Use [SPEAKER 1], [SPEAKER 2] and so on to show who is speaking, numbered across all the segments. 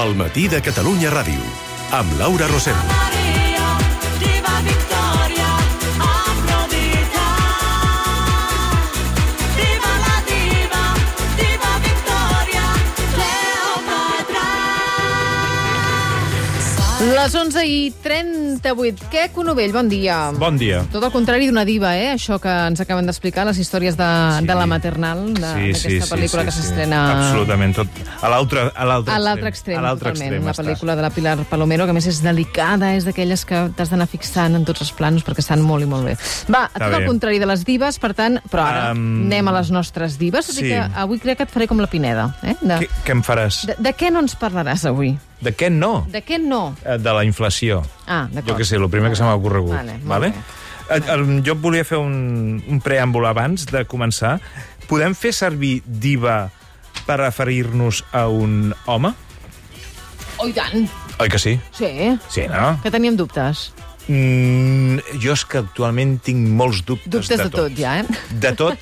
[SPEAKER 1] El matí de Catalunya Ràdio, amb Laura Rosell.
[SPEAKER 2] Maria, diva Victoria, Afrodita. Viva la diva, diva Victoria, Cleopatra.
[SPEAKER 3] Les 11 i 38. Què, Conovell? Bon dia.
[SPEAKER 4] Bon dia.
[SPEAKER 3] Tot el contrari d'una diva, eh? Això que ens acaben d'explicar, les històries de, sí. de la maternal, de- d'aquesta pel·lícula que s'estrena...
[SPEAKER 4] Absolutament, tot. A l'altre a l'altre
[SPEAKER 3] A l'altre extrem,
[SPEAKER 4] A l'altre
[SPEAKER 3] totalment.
[SPEAKER 4] extrem
[SPEAKER 3] la
[SPEAKER 4] estàs.
[SPEAKER 3] pel·lícula de la Pilar Palomero, que a més és delicada, és d'aquelles que t'has d'anar fixant en tots els planos perquè estan molt i molt bé. Va, a tot
[SPEAKER 4] bé.
[SPEAKER 3] el contrari de les divas, per tant, però ara
[SPEAKER 4] Em,
[SPEAKER 3] anem a les nostres dives, o
[SPEAKER 4] sí.
[SPEAKER 3] sigui que avui crec que et faré com la Pineda. Eh? De,
[SPEAKER 4] Què, què em faràs? De,
[SPEAKER 3] de, de què no ens parlaràs avui?
[SPEAKER 4] de què no?
[SPEAKER 3] De què no?
[SPEAKER 4] Eh, De la inflació.
[SPEAKER 3] Ah, d'acord.
[SPEAKER 4] Jo què sé, el primer que se m'ha ocorregut.
[SPEAKER 3] Vale, molt bé.
[SPEAKER 4] Eh, eh, Jo volia fer un, un preàmbul abans de començar. Podem fer servir diva per referir-nos a un home?
[SPEAKER 3] Oh, i tant!
[SPEAKER 4] Oi que sí?
[SPEAKER 3] Sí,
[SPEAKER 4] Sí, no?
[SPEAKER 3] que teníem dubtes.
[SPEAKER 4] Mm, jo és que actualment tinc molts dubtes,
[SPEAKER 3] Dubtes de
[SPEAKER 4] de
[SPEAKER 3] tot, ja, eh?
[SPEAKER 4] de tot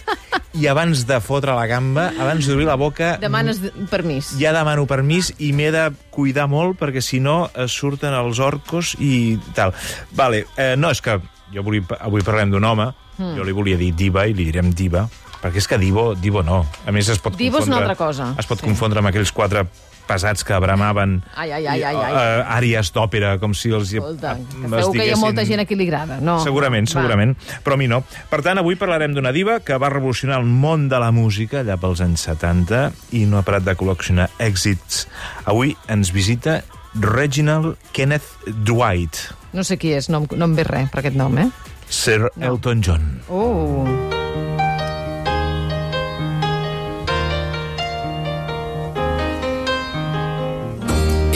[SPEAKER 4] i abans de fotre la gamba, abans d'obrir la boca...
[SPEAKER 3] Demanes d- permís.
[SPEAKER 4] Ja demano permís i m'he de cuidar molt perquè si no eh, surten els orcos i tal. Vale, eh, no, és que jo volia, avui parlem d'un home,
[SPEAKER 3] Hmm.
[SPEAKER 4] mm. jo li volia dir diva i li direm diva, perquè és que divo, divo no. A més es pot
[SPEAKER 3] Divo és una
[SPEAKER 4] confondre...
[SPEAKER 3] altra cosa.
[SPEAKER 4] Es pot
[SPEAKER 3] Sí.
[SPEAKER 4] sí. confondre amb aquells quatre pesats que bramaven
[SPEAKER 3] Ai, ai, ai, ai, ai.
[SPEAKER 4] eh, àries d'òpera, com si els...
[SPEAKER 3] Escolta, que
[SPEAKER 4] els
[SPEAKER 3] segur que hi ha molta
[SPEAKER 4] diguessin-
[SPEAKER 3] gent a qui li agrada, no?
[SPEAKER 4] Segurament,
[SPEAKER 3] Oh, Va.
[SPEAKER 4] segurament. Però a mi no. Per tant, avui parlarem d'una diva que va revolucionar el món de la música allà pels anys 70 i no ha parat de col·leccionar èxits. Avui ens visita Reginald Kenneth Dwight,
[SPEAKER 3] No sé qui és, no, em- no em ve res per aquest nom, eh?
[SPEAKER 4] Sir Elton John.
[SPEAKER 3] Oh,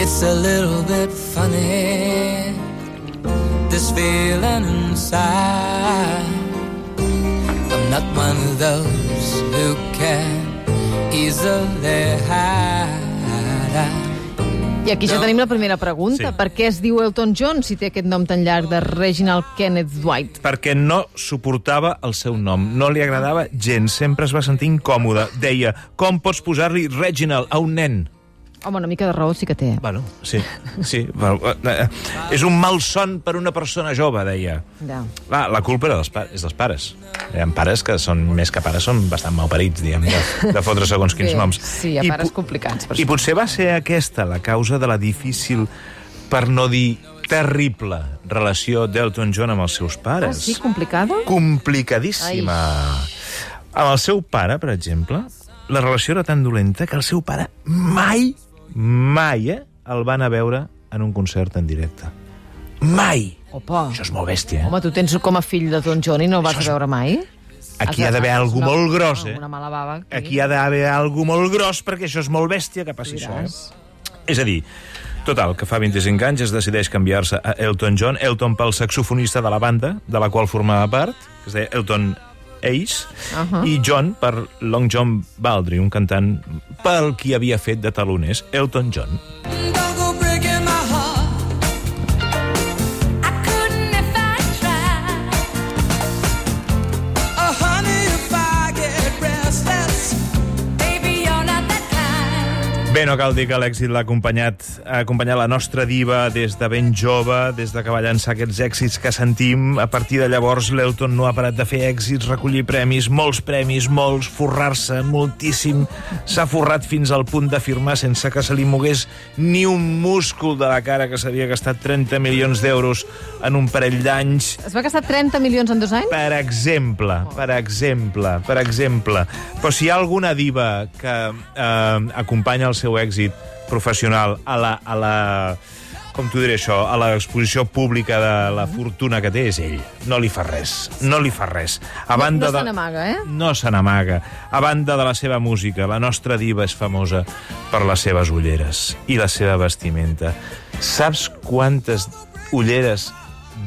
[SPEAKER 5] It's a little bit funny, this feeling inside. I'm not one of those who can easily hide.
[SPEAKER 3] i aquí ja tenim la primera pregunta.
[SPEAKER 4] Sí.
[SPEAKER 3] Per què es diu Elton John si té aquest nom tan llarg de Reginald Kenneth Dwight?
[SPEAKER 4] perquè no suportava el seu nom. No li agradava gens, sempre es va sentir incòmode. Deia, com pots posar-li Reginald a un nen?
[SPEAKER 3] Home, una mica de raó sí que té.
[SPEAKER 4] Bueno, sí, sí. Bueno, eh, eh, és un malson per una persona jove, deia.
[SPEAKER 3] Ja.
[SPEAKER 4] Clar, la culpa era dels pa- és dels pares. Hi ha pares que són, més que pares, són bastant malparits, diguem, de, de fotre segons quins
[SPEAKER 3] Bé,
[SPEAKER 4] noms.
[SPEAKER 3] sí, hi ha
[SPEAKER 4] I
[SPEAKER 3] pares
[SPEAKER 4] po-
[SPEAKER 3] complicats, per
[SPEAKER 4] I potser va ser aquesta la causa de la difícil, per no dir terrible, relació d'Elton John amb els seus
[SPEAKER 3] Ah,
[SPEAKER 4] pares.
[SPEAKER 3] sí, complicada?
[SPEAKER 4] Complicadíssima. Amb el seu pare, per exemple, la relació era tan dolenta que el seu pare mai, mai, eh, el van a veure en un concert en directe. Mai!
[SPEAKER 3] Opa.
[SPEAKER 4] Això és molt bèstia, eh?
[SPEAKER 3] Home, tu tens com a fill d'Elton John i no el vas a veure mai?
[SPEAKER 4] Aquí hi ha d'haver algú molt gros, eh?
[SPEAKER 3] Una mala bava.
[SPEAKER 4] Aquí hi ha d'haver algú molt gros, perquè això és molt bèstia que passi això,
[SPEAKER 3] Diràs.
[SPEAKER 4] eh? És a dir, total, que fa 25 anys es decideix canviar-se a Elton John, Elton pel saxofonista de la banda, de la qual formava part, que es deia Elton Ace,
[SPEAKER 3] Ahà.
[SPEAKER 4] i John per Long John Baldry, un cantant pel qui havia fet de taloners, Elton John.
[SPEAKER 5] Don't go breaking my heart.
[SPEAKER 2] I couldn't if I tried.
[SPEAKER 5] Oh, honey, if I get restless.
[SPEAKER 2] Baby, you're not that kind.
[SPEAKER 4] Bé, no cal dir que l'èxit l'ha acompanyat, ha acompanyat la nostra diva des de ben jove, des de que va llançar aquests èxits que sentim. A partir de llavors, l'Elton no ha parat de fer èxits, recollir premis, molts premis, molts, forrar-se moltíssim. S'ha forrat fins al punt d'afirmar, sense que se li mogués ni un múscul de la cara, que s'havia gastat 30 milions d'euros en un parell d'anys.
[SPEAKER 3] Es va gastar 30 milions en dos anys?
[SPEAKER 4] Per exemple, per exemple, per exemple. Però si hi ha alguna diva que eh, acompanya el seu èxit professional a la, a la com t'ho diré això, a l'exposició pública de la
[SPEAKER 3] Mhm.
[SPEAKER 4] fortuna que té és ell. No li fa res, no li fa res. A
[SPEAKER 3] no
[SPEAKER 4] de-
[SPEAKER 3] se n'amaga, eh?
[SPEAKER 4] No se n'amaga. A banda de la seva música, la nostra diva és famosa per les seves ulleres i la seva vestimenta. Saps quantes ulleres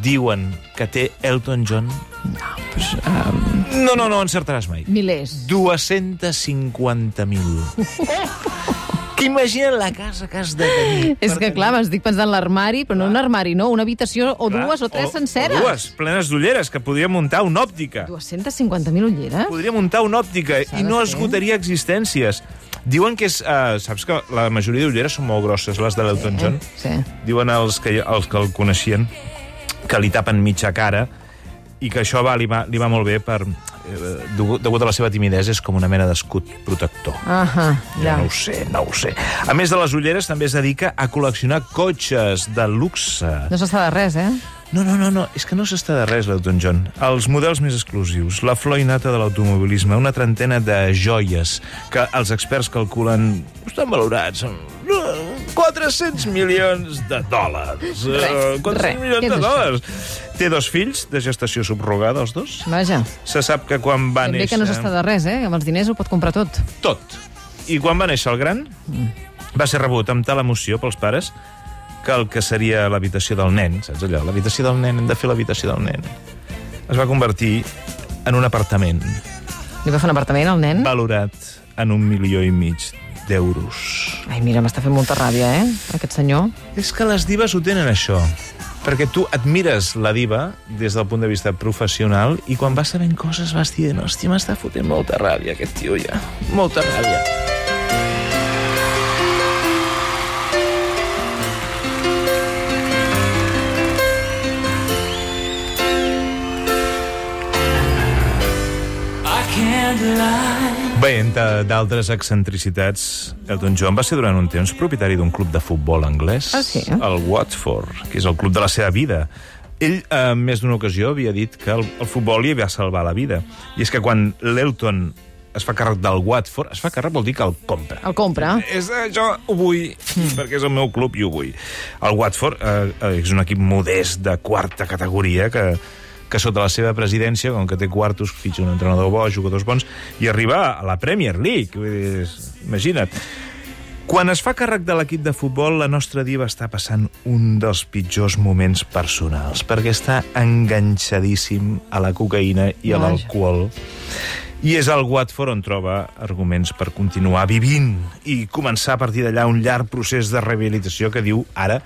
[SPEAKER 4] diuen que té Elton John? No, no, no encertaràs mai.
[SPEAKER 3] Milers.
[SPEAKER 4] 250.000. que imagina't la casa que has de tenir.
[SPEAKER 3] És
[SPEAKER 4] per
[SPEAKER 3] que,
[SPEAKER 4] tenir-
[SPEAKER 3] clar, estic pensant en l'armari, però no un armari, no, una habitació o
[SPEAKER 4] Clar,
[SPEAKER 3] dues o tres senceres.
[SPEAKER 4] O dues, plenes d'ulleres, que podria muntar una òptica.
[SPEAKER 3] 250.000 ulleres?
[SPEAKER 4] podria muntar una òptica i
[SPEAKER 3] S'ha de
[SPEAKER 4] no
[SPEAKER 3] fer.
[SPEAKER 4] esgotaria existències. Diuen que és... Eh, saps que la majoria d'ulleres són molt grosses, les de l'Elton John?
[SPEAKER 3] Eh? Sí.
[SPEAKER 4] Diuen els que, els que el coneixien que li tapen mitja cara i que això va, li, va, li va molt bé per... Eh, degu- degut a la seva timidesa és com una mena d'escut protector.
[SPEAKER 3] Ahà,
[SPEAKER 4] Ja.
[SPEAKER 3] ja.
[SPEAKER 4] No ho sé, no ho sé. A més de les ulleres, també es dedica a col·leccionar cotxes de luxe.
[SPEAKER 3] No s'està de res, eh?
[SPEAKER 4] No, no, no, no, és que no s'està de res, l'Elton John. Els models més exclusius, la flor innata de l'automobilisme, una trentena de joies que els experts calculen estan valorats en eh, 400 milions de dòlars. Eh, 400
[SPEAKER 3] res.
[SPEAKER 4] milions
[SPEAKER 3] Què és
[SPEAKER 4] de
[SPEAKER 3] això?
[SPEAKER 4] dòlars. Té dos fills de gestació subrogada, els dos.
[SPEAKER 3] Vaja.
[SPEAKER 4] Se sap que quan va
[SPEAKER 3] Ben bé
[SPEAKER 4] néixer...
[SPEAKER 3] que no s'està de res, eh? Amb els diners ho pot comprar tot.
[SPEAKER 4] Tot. I quan va néixer el gran, va ser rebut amb tal emoció pels pares que el que seria l'habitació del nen, saps allò? L'habitació del nen, hem de fer l'habitació del nen. Es va convertir en un apartament
[SPEAKER 3] Li va fer un apartament al nen?
[SPEAKER 4] valorat en un milió i mig d'euros.
[SPEAKER 3] Ai, mira, m'està fent molta ràbia, eh? Aquest senyor.
[SPEAKER 4] És que les divas ho tenen, això. Perquè tu admires la diva des del punt de vista professional i quan vas sabent coses vas dient hòstia, m'està fotent molta ràbia aquest tio ja. Molta ràbia.
[SPEAKER 5] I can't lie.
[SPEAKER 4] Bé, entre d'altres excentricitats, Elton John va ser durant un temps propietari d'un club de futbol anglès,
[SPEAKER 3] Ah, sí?
[SPEAKER 4] el Watford, que és el club de la seva vida. Ell, eh, en més d'una ocasió, havia dit que el, el futbol li va salvar la vida. I és que quan l'Elton es fa càrrec del Watford, es fa càrrec vol dir que el compra.
[SPEAKER 3] El compra.
[SPEAKER 4] És, eh, jo ho vull, perquè és el meu club i ho vull. El Watford eh, eh, és un equip modest de quarta categoria que que sota la seva presidència, com que té quartos, fitxa un entrenador bo, jugadors bons, i arriba a la Premier League. Vull dir, és- imagina't. Quan es fa càrrec de l'equip de futbol, la nostra diva està passant un dels pitjors moments personals, perquè està enganxadíssim a la cocaïna i a
[SPEAKER 3] Vaja.
[SPEAKER 4] l'alcohol. I és al Watford on troba arguments per continuar vivint i començar a partir d'allà un llarg procés de rehabilitació que diu ara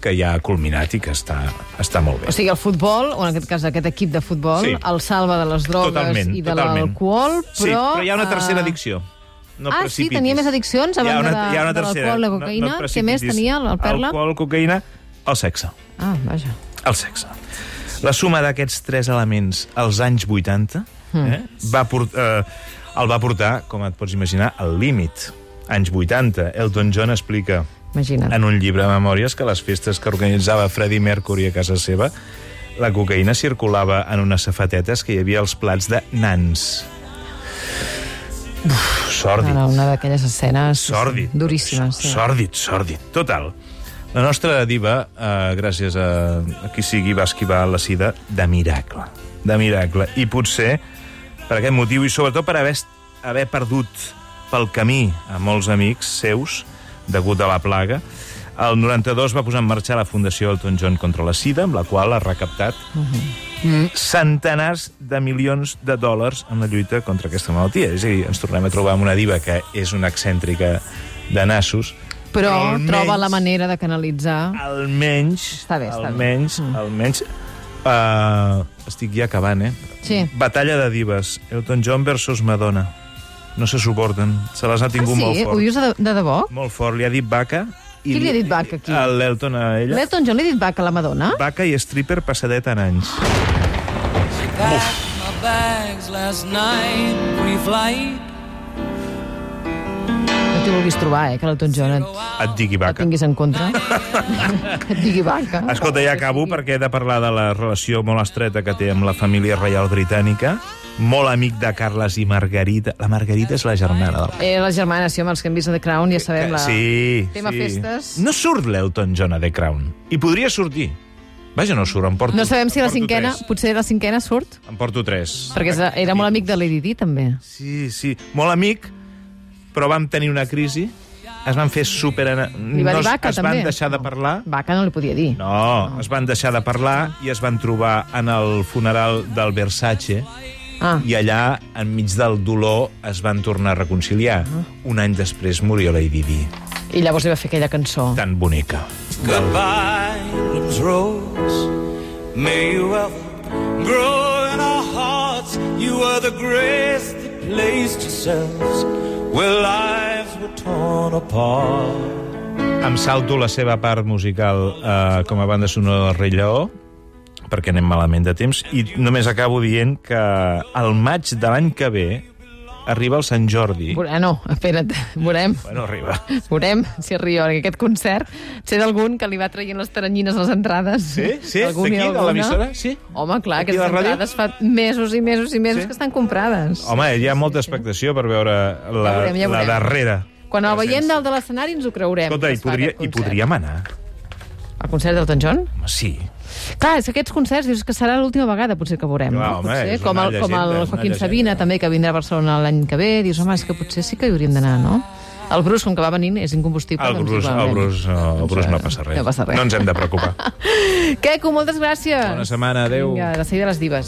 [SPEAKER 4] que ja ha culminat i que està, està molt bé.
[SPEAKER 3] O sigui, el futbol, o en aquest cas aquest equip de futbol,
[SPEAKER 4] Sí.
[SPEAKER 3] el salva de les drogues
[SPEAKER 4] Totalment,
[SPEAKER 3] i de
[SPEAKER 4] totalment.
[SPEAKER 3] l'alcohol, però...
[SPEAKER 4] Sí, però hi ha una tercera
[SPEAKER 3] eh,
[SPEAKER 4] addicció. No
[SPEAKER 3] ah, sí?
[SPEAKER 4] precipitis.
[SPEAKER 3] Tenia més addiccions
[SPEAKER 4] Hi
[SPEAKER 3] a
[SPEAKER 4] ha
[SPEAKER 3] banda
[SPEAKER 4] una-
[SPEAKER 3] de-
[SPEAKER 4] hi ha una
[SPEAKER 3] de l'alcohol,
[SPEAKER 4] tercera.
[SPEAKER 3] la cocaïna? Què
[SPEAKER 4] precipitis.
[SPEAKER 3] més tenia, el Perla?
[SPEAKER 4] Alcohol, cocaïna, el sexe.
[SPEAKER 3] Ah, vaja.
[SPEAKER 4] El sexe. La suma d'aquests tres elements als anys 80
[SPEAKER 3] Hmm.
[SPEAKER 4] eh, va port, eh, el va portar, com et pots imaginar, al límit. Anys 80. Elton John explica
[SPEAKER 3] Imagina't.
[SPEAKER 4] en un llibre de memòries que a les festes que organitzava Freddie Mercury a casa seva la cocaïna circulava en unes safatetes que hi havia als plats de nans. Uf, sòrdid.
[SPEAKER 3] Ara, una d'aquelles escenes
[SPEAKER 4] Sòrdid.
[SPEAKER 3] duríssimes. Sí.
[SPEAKER 4] Sòrdid, sòrdid. Total. La nostra diva, eh, gràcies a, a qui sigui, va esquivar la sida de miracle. De miracle. I potser per aquest motiu i sobretot per haver, est- haver perdut pel camí a molts amics seus degut a la plaga, el 92 va posar en marxa la Fundació Elton John contra la Sida, amb la qual ha recaptat mm, centenars de milions de dòlars en la lluita contra aquesta malaltia. És a dir, ens tornem a trobar amb una diva que és una excèntrica de nassos,
[SPEAKER 3] Però
[SPEAKER 4] almenys-
[SPEAKER 3] troba la manera de canalitzar...
[SPEAKER 4] almenys,
[SPEAKER 3] Està bé, Mm. està bé.
[SPEAKER 4] almenys, bé. almenys, uh, estic ja acabant, eh?
[SPEAKER 3] Sí.
[SPEAKER 4] Batalla de divas, Elton John versus Madonna. No se suporten, se les ha
[SPEAKER 3] Ah,
[SPEAKER 4] tingut molt
[SPEAKER 3] sí?
[SPEAKER 4] fort.
[SPEAKER 3] Ho dius de, de debò?
[SPEAKER 4] Molt fort, li ha dit vaca. I
[SPEAKER 3] Qui li ha dit vaca, aquí?
[SPEAKER 4] A L'Elton a ella.
[SPEAKER 3] L'Elton John li ha dit vaca a la Madonna?
[SPEAKER 4] Vaca i stripper passadet en anys.
[SPEAKER 5] Packed my bags last night, pre-flight.
[SPEAKER 3] No t'hi vulguis trobar, eh, que l'Elton John et,
[SPEAKER 4] Et digui
[SPEAKER 3] et
[SPEAKER 4] vaca.
[SPEAKER 3] tinguis en contra. que et digui vaca.
[SPEAKER 4] Escolta, ja acabo perquè he de parlar de la relació molt estreta que té amb la família reial britànica. Molt amic de Carles i Margarita. La Margarita és la germana del...
[SPEAKER 3] Eh, les germanes, sí, home, els que hem vist a The Crown, ja sabem la...
[SPEAKER 4] Sí,
[SPEAKER 3] Tema
[SPEAKER 4] sí.
[SPEAKER 3] festes.
[SPEAKER 4] No surt l'Elton John a The Crown. I podria sortir. Vaja, no surt, em porto...
[SPEAKER 3] No sabem si
[SPEAKER 4] em
[SPEAKER 3] la
[SPEAKER 4] porto
[SPEAKER 3] cinquena,
[SPEAKER 4] Tres.
[SPEAKER 3] potser la cinquena surt,
[SPEAKER 4] Em porto tres.
[SPEAKER 3] perquè és- era molt amic de Lady Di, també.
[SPEAKER 4] Sí, sí, molt amic, però vam tenir una crisi, es van fer super...
[SPEAKER 3] Li va
[SPEAKER 4] no,
[SPEAKER 3] dir vaca,
[SPEAKER 4] es
[SPEAKER 3] també.
[SPEAKER 4] van deixar de parlar...
[SPEAKER 3] Vaca no li podia dir.
[SPEAKER 4] No, es van deixar de parlar i es van trobar en el funeral del Versace
[SPEAKER 3] Ah,
[SPEAKER 4] i allà, enmig del dolor, es van tornar a reconciliar. Un any després moria Lady Di,
[SPEAKER 3] i llavors li va fer aquella cançó.
[SPEAKER 4] tan bonica.
[SPEAKER 5] Goodbye, England's rose. May you ever grow in our hearts. You are the grace that placed yourselves where lives torn apart.
[SPEAKER 4] Em salto la seva part musical eh, com a banda sonora del Rei Lleó, perquè anem malament de temps, i només acabo dient que al maig de l'any que ve arriba el Sant Jordi.
[SPEAKER 3] Ah, no, espera't, veurem.
[SPEAKER 4] Bueno, arriba.
[SPEAKER 3] Veurem si arriba, perquè aquest concert sé d'algun que li va traient les taranyines a les entrades.
[SPEAKER 4] Sí? Sí?
[SPEAKER 3] D'algun i
[SPEAKER 4] D'aquí, de
[SPEAKER 3] d'alguna.
[SPEAKER 4] l'emissora? Sí?
[SPEAKER 3] Home, clar,
[SPEAKER 4] D'aquí
[SPEAKER 3] aquestes
[SPEAKER 4] de la ràdio?
[SPEAKER 3] entrades fa mesos i mesos i mesos
[SPEAKER 4] Sí?
[SPEAKER 3] que estan comprades.
[SPEAKER 4] Home, hi ha molta expectació per veure la,
[SPEAKER 3] Ja veurem, ja
[SPEAKER 4] la
[SPEAKER 3] veurem.
[SPEAKER 4] darrera.
[SPEAKER 3] Quan el
[SPEAKER 4] presència.
[SPEAKER 3] veiem dalt de l'escenari ens ho creurem.
[SPEAKER 4] Escolta, hi,
[SPEAKER 3] que es fa
[SPEAKER 4] podria,
[SPEAKER 3] aquest
[SPEAKER 4] hi
[SPEAKER 3] concert.
[SPEAKER 4] podríem anar.
[SPEAKER 3] El concert d'Elton John?
[SPEAKER 4] Home, sí.
[SPEAKER 3] Clar, és que aquests concerts dius que serà l'última vegada potser que veurem.
[SPEAKER 4] Clar,
[SPEAKER 3] no?
[SPEAKER 4] home,
[SPEAKER 3] potser,
[SPEAKER 4] és
[SPEAKER 3] com
[SPEAKER 4] una
[SPEAKER 3] el,
[SPEAKER 4] llegenda, és
[SPEAKER 3] com el
[SPEAKER 4] una
[SPEAKER 3] Joaquim
[SPEAKER 4] llegenda.
[SPEAKER 3] Sabina, també, que vindrà a Barcelona l'any que ve. Dius, home, és que potser sí que hi hauríem d'anar, no? El Bruce, com que va venint, és incombustible.
[SPEAKER 4] El
[SPEAKER 3] doncs
[SPEAKER 4] Bruce,
[SPEAKER 3] igualment.
[SPEAKER 4] el Bruce, no, el
[SPEAKER 3] Doncs,
[SPEAKER 4] Bruce no
[SPEAKER 3] eh,
[SPEAKER 4] passa res.
[SPEAKER 3] No passa res.
[SPEAKER 4] No ens hem de preocupar.
[SPEAKER 3] Queco, moltes gràcies.
[SPEAKER 4] Bona setmana, adéu.
[SPEAKER 3] Vinga, de seguida les divas.